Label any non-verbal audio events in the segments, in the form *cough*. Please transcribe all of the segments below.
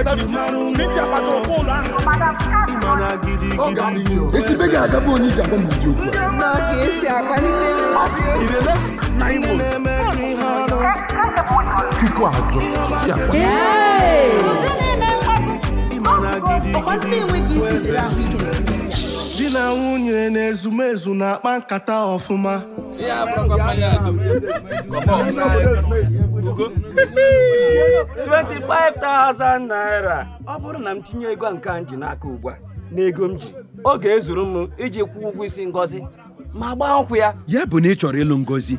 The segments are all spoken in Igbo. Cynthia Patrokwu ụlọ ahụ. Ọ ga-adị gị o. Esibe ga-agabụ onye iji agwa m ụdị okwu a. ka esi akwalite In the next nine months, Chukwu ajọ, si akwa. ọkwa ndị enweghị ike siri ahụ ike di na nwunye na-ezumezu na-akpa nkata ọfụma Ugo 25,000 naira ọ bụrụ na m tinye ego nke a m ji n'aka ugbu a na ego m ji ọ ga-ezuru m iji kwụọ ụgwọ isi ngozi ma gbaa nkwụ ya ya bụ na ị chọrọ ịlụ ngozi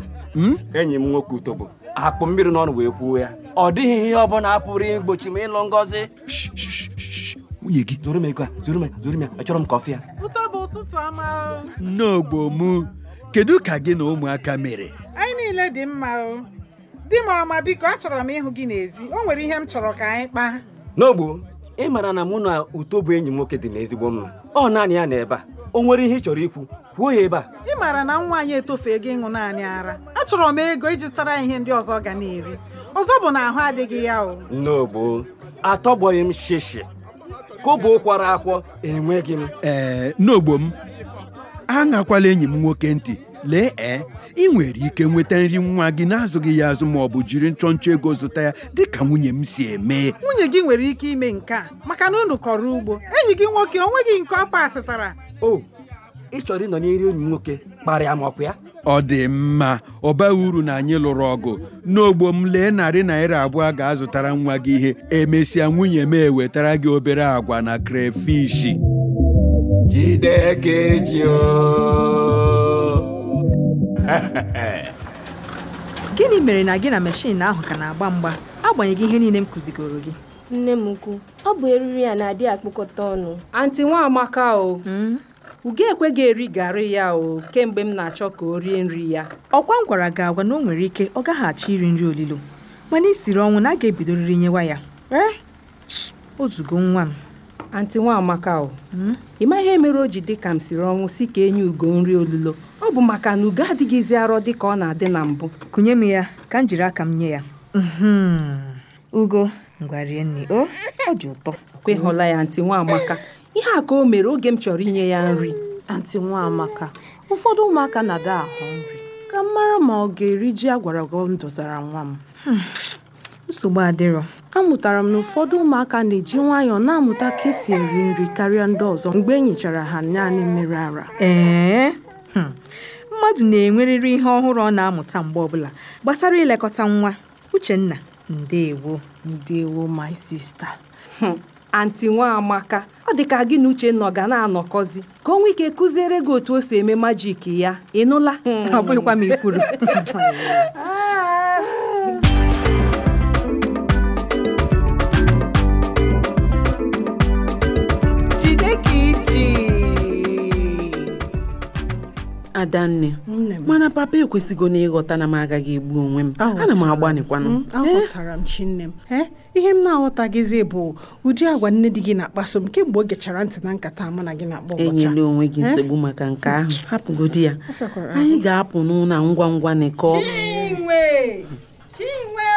enyi m nwoke utobo akpụ mmiri n'ọnụ wee kwuo ya ọ dịghị ihe ọ bụla pụrụ igbochi m ịlụ ngozi nwunye gị zuru m ego a zuru m zuru m ya achọrọ m kọfị a ụtọ bụ ụtụtụ ọma o. n'ogbo m kedu ka gị na ụmụaka mere anyị niile dị mma o di m ọma biko achọrọ m ịhụ gị n'ezi o nwere ihe m chọrọ ka anyị kpaa n'ogbo ị mara na mụ na utobo enyi m nwoke dị n'ezigbo mma ọ naanị ya na ebe a o nwere ihe ị chọrọ ikwu kwuo ya ebe a ị maara na nwa anyị etofego ịṅụ naanị ara achọrọ m ego iji zụtara ya ihe ndị ọzọ ọ ga na-eri ọzọ bụ na ahụ adịghị ya o n'ogbo atọgbọghị m shishi kobo kwara akwọ enweghị m ee n'ogbo m aṅakwala enyi m nwoke ntị lee ee ị nwere ike nweta nri nwa gị na-azụghị ya azụ ma ọ bụ jiri nchọnchọ ego zụta ya dịka nwunye m si eme nwunye gị nwere ike ime nke a maka na unu kọrọ ugbo enyi gị nwoke o nweghị nke ọ pasịtara o ị chọrọ ịnọ n'iri enyi m nwoke kparịa m ọkụ ya ọ dị mma ọ baghị uru na anyị lụrụ ọgụ n'ogbo m lee narị naira abụọ ga-azụtara nwa gị ihe emesịa nwunye m ewetara gị obere agwa na krefishi jide ka eji o gịnị mere na gị na meshin ahụ ka na-agba mgba agbanyeghị ihe niile m kụzigoro gị nne m ukwu ọ bụ eriri ya na-adị akpụkọta ọnụ anti nwaamaka o ugo ekweghị eri garị ya o kemgbe m na-achọ ka o rie nri ya ọkwa m gwara gị agwa na o nwere ike ọ gaghị achọ iri nri olilo mana isiri ọnwụ na a ga-ebidoriri nyewa ya ee ozugo Eh? nwa m anti nwaamaka o Hmm? ị ma ihe mere o ji dị ka m siri ọnwụ si ka enye ugo nri olulo ọ bụ maka na ugo adịghịzi arọ dị ka ọ na-adị na mbụ kụnye m ya ka m jiri aka m nye ya Mhm. ugo ngwarie nne o ọ dị ụtọ kwehụla ya anti nwaamaka ihe a ka o mere oge m chọrọ inye ya nri anti nwaamaka ụfọdụ ụmụaka na-ada ahụ nri ka m mara ma ọ ga-eri ji a gwara gị m dozara nwa m Hmm, nsogbu adịrọ amụtara m na ụfọdụ ụmụaka na-eji nwayọọ na-amụta ka esi eri nri karịa ndị ọzọ mgbe e nyechara ha naanị mmiri ara ee hmm. mmadụ na-enwerịrị ihe ọhụrụ ọ na-amụta mgbe ọbụla gbasara ilekọta nwa uchenna ndeewo ndewo my sister Hmm, anti nwaamaka ọ dị ka gị na uchenna ọ ga na-anọkọzi ka o nwee ike kụziere gị otu o si eme majik ya ị nụla Hmm. ọ bụghịkwa ma i kwuru *laughs* jide ka iji adanne nne m mana papa ekwesịgo na ịghọta na m agaghị egbu onwe m ana m agbanịkwanụ Hmm? Mm, aghọtara m chi nne m ee ihe m na-aghọtaghịzi bụ ụdị agwa nne di gị na-akpaso m kemgbe o gechara ntị na nkata mụ na gị na-akpọ ụbọchị a. enyela onwe gị nsogbu maka nke ahụ hapụgodi ya anyị ga-apụ n'ụlọ a ngwa ngwa n'ịkọ chinwe chinwe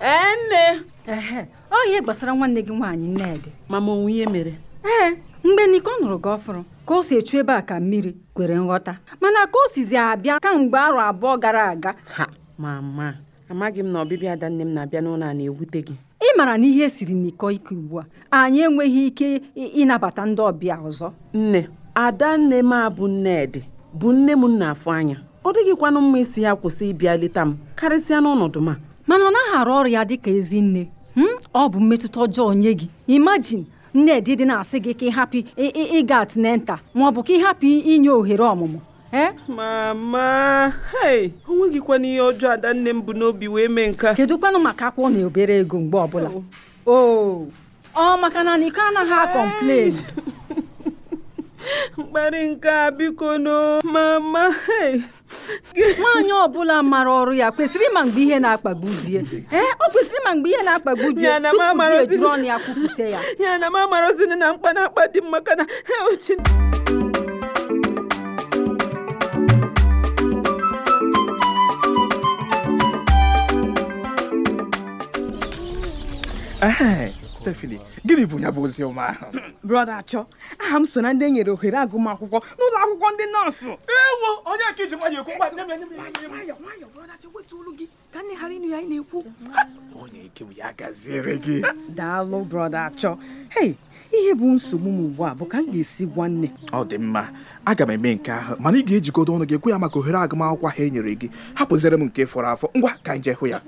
ee nne ehe ọ ihe gbasara nwanne gị nwaanyị nnedị mama onwe ihe mere ee mgbe niko nụrụ gị ọfụrụ ka o si echu ebe a ka mmiri kwere nghọta mana ka o sizi abịa kamgbe arọ abụọ gara aga ha mama amaghị m na ọbịbịa ada nne m na-abịa n'ụlọ a na-ewute gị ị mara na ihe esiri n'iko ike ugbu a anyị enweghị ike ị- ịnabata ndị ọbịa ọzọ nne ada nne m abụ nnedị bụ nne m nna afọ anya ọ dịghịkwanụ mma isi ya kwụsị ịbịa leta m karịsịa n'ọnọdụ m a mana ọ naghị arụ ọrụ ya dịka ezi nne Hmm? ọ bụ mmetụta ọjọọ nye gị imajin nnedị dị na-asị gị ka ịhapụ ị- ị- ịga atinenta maọbụ ka ịhapụ inye ohere ọmụmụ ee mama hei o nweghịkwana ihe ọjọọ ada nne m bụ n'obi wee mee nke a. kedu kwanụ maka akwụ na obere ego mgbe ọbụla oo ọ maka na niko anaghị akọmplen mkparị nke a biko no mama hei nwaanyị ọbụla mara ọrụ ya kwesịrị ịma mgbe ihe na-akpagbu die ee ọ kwesịrị ịma mgbe ihe na-akpagbu die Ya na tupu mama di rozi- ejiri ọnụ ya kwupụta ya ya na m amarazini na mkpa na-akpa dị m maka na ochi stefani gịnị bụ ya bụ ozi ọma ahụ brọda achọ aha m so na ndị e nyere ohere agụmakwụkwọ n'ụlọ akwụkwọ ndị nọọsụ ewo onye ka iji nwayọ ekwu ka nne ghara ịnụ ya anyị na-ekwu onye ike ya gaziere gị daalụ brọda achọ hei ihe bụ nsogbu m ugbu a bụ ka m ga-esi gwa nne ọ dị mma aga m eme nke ahụ mana ị ga-ejikọta ọnụ gị ekwe ya maka ohere agụmakwụkwọ ha e nyere gị hapụzere m nke fọrọ afọ ngwa ka anyị jee hụ ya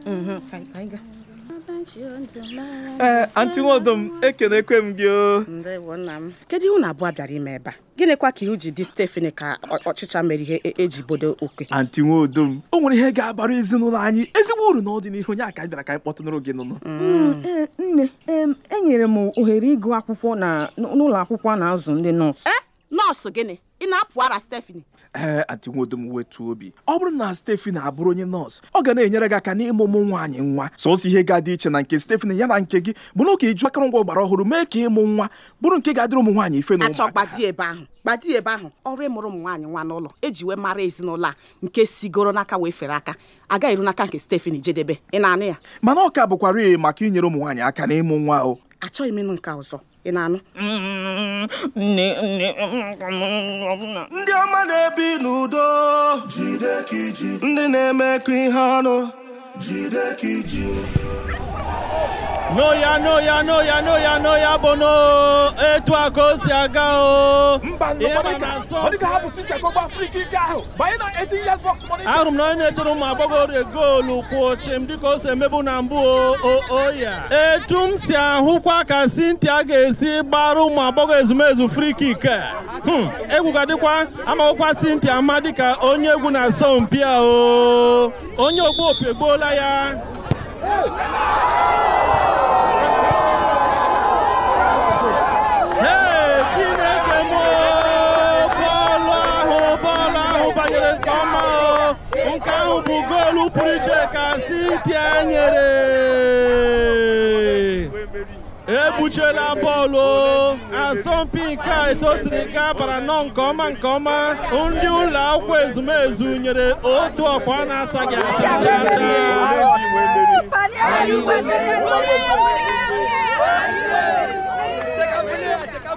ee antị nwodom ekenekwe m gị oh. o Ndewo nna m. kedu ihe unu abụọ bịara ime ebe a gịnịkwa ka ihu ji dị stefani ka ọ- ọchịcha mere ihe e- eji bodo oke antị nwodom o nwere ihe ga-abara ezinụlọ anyị ezigbo uru n'ọdịnihu onye aka anyị bịara ka anyị kpọtụnụrụ gị nụnụ Ee, nne em, enyere m ohere ịgụ akwụkwọ na n'ụlọ akwụkwọ a na-azụ ndị nọọsụ E, nọọsụ gịnị ị na-apụ ara stefani ee antị nwodom wetu obi ọ bụrụ na stefani abụrụ onye nọọsụ ọ ga na-enyere gị aka n'ịmụ ụmụ nwaanyị nwa sọsọ ihe ga-adị iche na nke stefani ya na nke gị bụ na oke iju akụrụngwa ọgbara ọhụrụ mee ka ịmụ nwa bụrụ nke ga-adịrị ụmụ nwaanyị ife na achọ gbadi ebe ahụ gbadi ebe ahụ ọrụ ịmụrụ ụmụ nwaanyị nwa n'ụlọ eji wee mara ezinụlọ a nke sigoro n'aka wee fere aka agaghị eru n'aka nke stefani jedebe ị na-anụ ya mana ọ ka bụkwara ihe maka inyere ụmụ nwaanyị aka n'ịmụ nwa o achọghị m ịnụ nke a ọzọ ị na-anụ nne nne ndị ọma na-ebi n'udo ndị na-emekọ ihe ọnụ no ya no ya no ya no ya no ya bụ no etu a ka o si aga o Ịma na asọ- ahụrụ m na onye na-echere ụmụ agbọghọ rie goolu kwụ oche m dịka o si emebu na mbụ o- o- oya etu m si ahụkwa ka Cynthia ga-esi gbara ụmụ agbọghọ ezumezu free kick a. Hmm, egwu ga dịkwa amakwụkwa Cynthia mma dịka onye egwu na asọmpi a o onye ogbu opi egbuola ya Hey, Chineke m o! bọọlụ ahụ bọọlụ ahụ banyere nke ọma o! nke ahụ bụ goolu pụrụ iche ka Cynthia nyere egbuchela bọọlụ o! asọmpi nke a etosiri nke a bara nọ nke ọma nke ọma ndị ụlọ akwụkwọ ezumezu nyere otu ọkwa na-asaghị asa chaa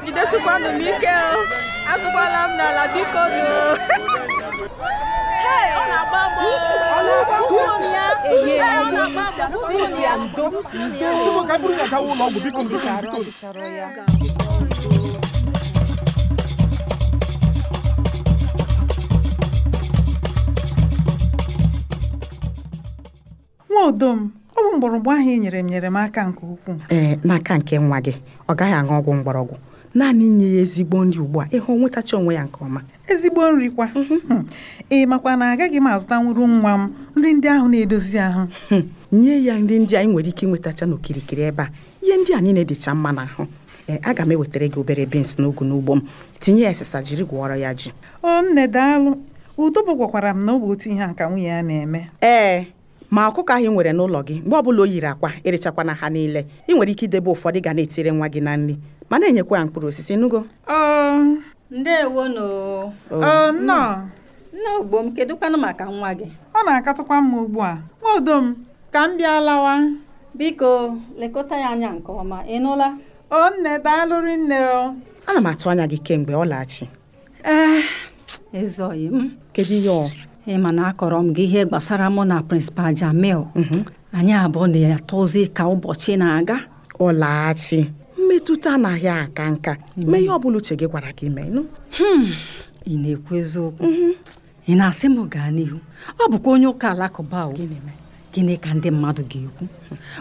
jidesikwanụ m ike o atụkwala m n'ala biko dị o nwa odo m ọ bụ mgbọrọgwụ ahụ ị nyere m nyere m aka nke ukwuu ee Eh, n'aka nke nwa gị ọ gaghị aṅụ ọgwụ mgbọrọgwụ naanị inye ya ezigbo nri ugbu a ịhụ nwetacha onwe ya nke ọma Mhm. ezigbo nri kwa Hmm. ị makwa na agaghị m azụtanwuru nwa m nri ndị ahụ na-edozi ahụ Hmm. nye ya nri ndị anyị nwere ike nwetacha n'okirikiri ebe a ihe ndị a niile dịcha mma n'ahụ ee aga m ewetara gị obere bins n'ogu n'ugbo m tinye ya esesa jiri gwọọrọ ya ji o nne daalụ udobo gwakwara m na ọ bụ otu ihe a ka nwunye ya na-eme ee ma ọkụkọ ahụ ị nwere n'ụlọ gị mgbe ọbụla o yiri akwa ịrịchakwana ha niile ị nwere ike idebe ụfọdụ ga na-etire nwa gị na nri ma na-enyekwa ya mkpụrụ osisi nugo Um, ndewonu Oh. Ee, nnọọ. nne ogbo m kedụkwanụ maka nwa gị ọ na-akatụkwa mma ugbu a nwa odo m ka m bịa lawa biko lekọta ya anya nke ọma ị nụla o nne daalụrị nne o Eh, ana m atụ anya gị kemgbe ọ laghachi ezoghị m kedu ihe ọ ị ma na akọrọ m gị ihe gbasara mụ na prịnsịpal jamil anyị abụọ na-atụzi ka ụbọchị na-aga ọ laghachi mmetụta anaghị aka nka Hmm. mee ihe ọ bụla uche gị gwara gị mee nụ Hmm, ị na-ekwu eziokwu ị na-asị m gaa n'ihu ọ bụkwa onye ụka alakụba o gịnị ka ndị mmadụ ga-ekwu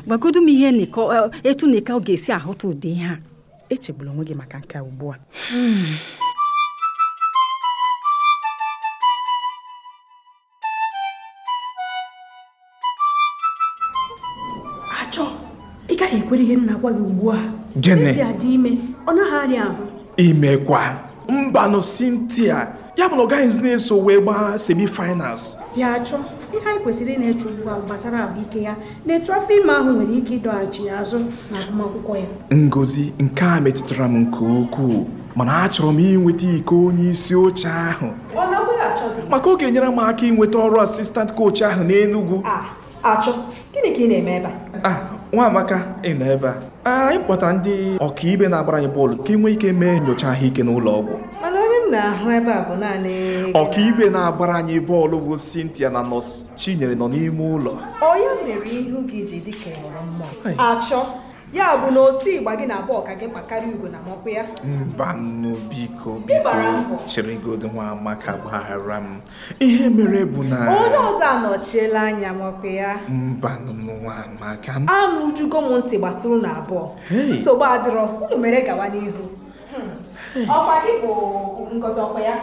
gwagodo m ihe nịkọ- eh, etu nịka ọ ga-esi ahụta ụdị ihe a echegbula onwe gị maka nke a ugbu a Hmm. achọ ị gaghị ekwere ihe m na-agwa gị ugbu a Gịnị? Cynthia dị ime ọ naghị arịa ahụ imekwa mbanụ Cynthia ya bụ na ọ gaghị ezi na-eso wee gbaa semifinals ya achọ ihe anyị kwesịrị ịna-eche ugbu a gbasara ahụike ya na etu afọ ime ahụ nwere ike ịdọghachi ya azụ na agụmakwụkwọ ya ngozi nke a metụtara m nke ukwuu mana achọrọ m inweta iko onye isi oche ahụ ọ na-agwaghị achọ dị maka ọ ga-enyere m aka inweta ọrụ asistant coach ahụ n'Enugu achọ gịnị ka ị na-eme ebe a Ah, nwa amaka ị nọ ebe a Ah, anyị kpọtara ndị ọkaibe na-agbara anyị bọọlụ ka e nwee ike mee nyocha ahụike n'ụlọ ọgwụ mana onye m na-ahụ ebe a bụ naanị ọkaibe na-agbara anyị bọọlụ bụ Cynthia na nọọsụ Chinyere nọ n'ime ụlọ onye mere ihu gị ji dị ka ịhụrụ mmụọ achọ ya bụ na otu ịgba gị na abụọ ka gị gbakarịa ugo na mọkwụ ya mbanụ biko biko Ịgbara mbọ. chịrịgodo nwa amaka gbaghara m ihe mere bụ na onye ọzọ anọchiela anya mọkwụ ya mbanụ nwa amaka m anụ ujugo m ntị gbasara unu abụọ Hey. nsogbu adịrọ unu mere gawa n'ihu Hmm. ọkwa gị bụ ngozi ọkwa ya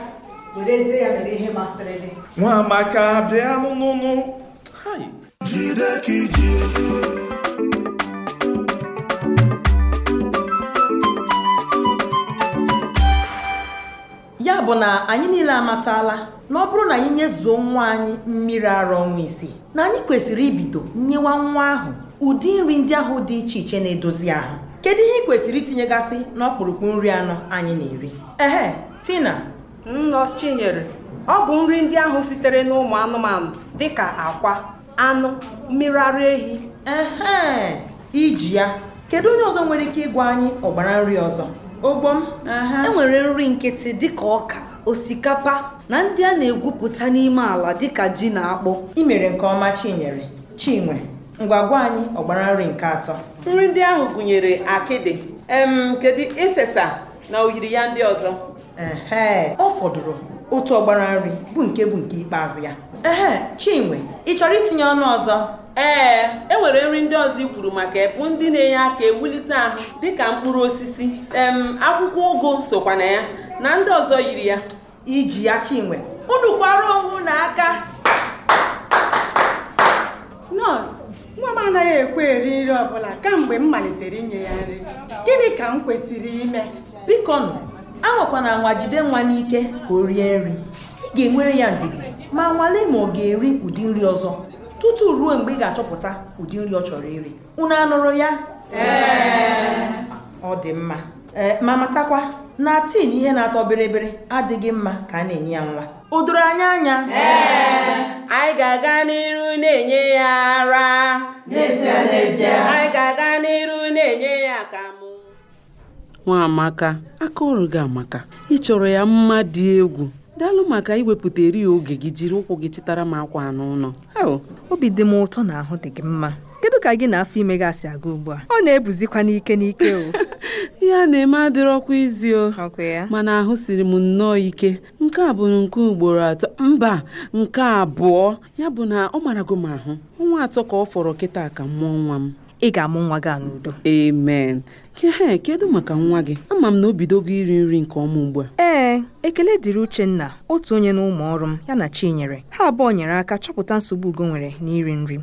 werezie ya mere ihe masịrị gị nwa amaka bịa n'ụnụnụ jide ka iji ya bụ na anyị niile amatala na ọ bụrụ na anyị nyezuo nwa anyị mmiri ara ọnwa isii na anyị kwesịrị ibido nyewa nwa ahụ ụdị nri ndị ahụ dị iche iche na-edozi ahụ kedu ihe ị kwesịrị itinyegasị n'ọkpụrụkpụ nri anọ anyị na-eri ehe tina nọọsụ chinyere ọ bụ nri ndị ahụ sitere n'ụmụ anụmanụ dịka akwa anụ mmiri ara ehi ehe iji ya kedu onye ọzọ nwere ike ịgwa anyị ọgbara nri ọzọ ogbo m e nwere nri nkịtị dịka ọka osikapa na ndị a na-egwupụta n'ime ala dịka ji na akpụ ị mere nke ọma chinyere chinwe ngwa gwa anyị ọgbara nri nke atọ nri ndị ahụ gụnyere akịdị em kedu ịsesa na oyiri ya ndị ọzọ ehe ọ fọdụrụ otu ọgbara nri bụ nke bụ nke ikpeazụ ya ehe chinwe ị chọrọ itinye ọnụ ọzọ ee e nwere nri ndị ọzọ i kwuru maka ya bụ ndị na-enye aka ewulite ahụ dịka mkpụrụ osisi em akwụkwọ ụgụ sokwa na ya na ndị ọzọ yiri ya iji ya chinwe unu kwara onwe unu aka nọọsụ nwa m anaghị ekwe eri nri ọbụla kamgbe m malitere inye ya nri gịnị ka m kwesịrị ime biko nụ anwakwana anwa jide nwa n'ike ka o rie nri ị ga-enwere ya ndidi ma nwalee ma ọ ga-eri ụdị nri ọzọ tutu ruo mgbe ị ga-achọpụta ụdị nri ọ chọrọ iri unu anụrụ ya ọ dị mma Ee, ma matakwa na tin ihe na-atọ biribiri adịghị mma ka a na-enye ya nwa o doro anya anya anyị ga-aga n'iru na-enye ya ara N'ezie, n'ezie. anyị ga-aga n'iru na-enye ya akamụ nwa amaka aka ọrụ gị amaka ị chọrọ ya mma dị egwu daalụ maka iwepụta eri oge gị jiri ụkwụ gị chịtara m akwa n'ụlọ Au, obi dị m ụtọ na ahụ dị gị mma kedu ka gị na afọ ime gị asị aga ugbu a ọ na-ebuzikwa n'ike n'ike *laughs* o ihe a na-eme adịrọ ọkwa izi o mana ahụ siri m nnọọ ike nke a bụ nke ugboro atọ mba nke abụọ ya bụ na ọ marago m ahụ ọnwa atọ ka ọ fọrọ kịta ka m mụọ nwa m ị ga-amụ nwa gị a n'udo amen kehe kedu maka nwa gị ama m na o bidogo iri nri nke ọma ugbu a ee ekele dịrị uchenna otu onye na ụmụ ọrụ m ya na chinyere ha abụọ nyere aka chọpụta nsogbu ugo nwere n'iri nri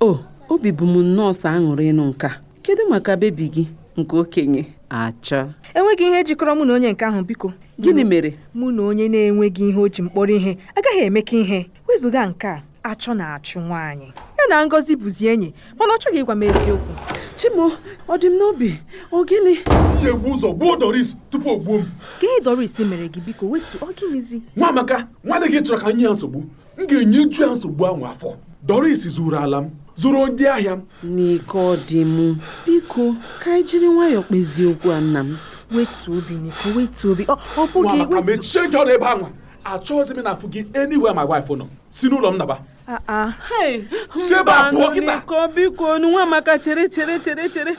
o obi bụ m nọọsụ aṅụrị ịnụ nka kedu maka bebi gị nke okenye achọ enweghị ihe jikọrọ mụ na onye nke ahụ biko gịnị mere mụ na onye na-enweghị ihe o ji mkpọrọ ihe agaghị emekọ ihe wezụga nke a achọ na-achụ nwaanyị ya na ngọzi bụzi enyi mana ọ chọghị ịgwa m eziokwu chimo ọ dị m n'obi ọ gịnị m ga-egbu ụzọ gbuo doris tupu o gbuo m gee doris mere gị biko wetu ọ gịnịzi nwa amaka nwanne gị chọrọ ka m nye ya nsogbu m ga-enyeju ya nsogbu ahụ afọ doris zuru ala m zuru ndị ahịa m n'ike ọ dị m biko ka anyị jiri nwayọọ kpezie okwu a nna m wetu obi niko wetu obi ọ nwa bụghị amaka wetu mechie gị ọnụ ebe anwa achọghịzi m na afụ gị anywhere my wife nọ si n'ụlọ m naba a a si ebe a pụọ kịta biko biko nwa amaka chere chere chere chere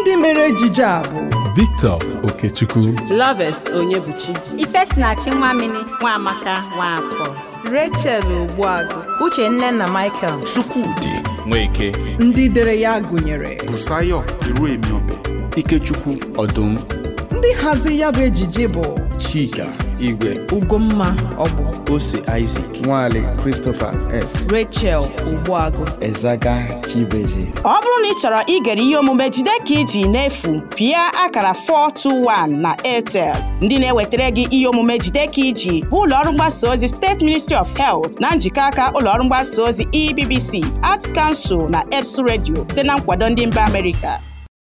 ndị mere ejije a bụ Victor Okechukwu Loves Onyebuchi Ifesinachi Nwamini Nwamaka Nwafọ Rachel Ogbuagụ Uchenna na Michael Chukwudị Nweke ndị dere ya gụnyere Busayo Iruemiobe Ikechukwu Ọdụm ndị hazi ya bụ ejije bụ Chika Igwe ugomma ọgbụ Ose Isaac Nwale Christopher S Rachel Ogbuagụ Ezaga Chibeze ọ bụrụ na ị chọrọ igere ihe omume jide ka iji n'efu pịa akara 421 na airtel ndị na-ewetara gị ihe omume jide ka iji bụ ụlọọrụ mgbasa ozi steeti ministry of health na njikọ aka E ụlọọrụ mgbasa ozi ebbc art council na eps radio site na nkwado ndị mba amerịka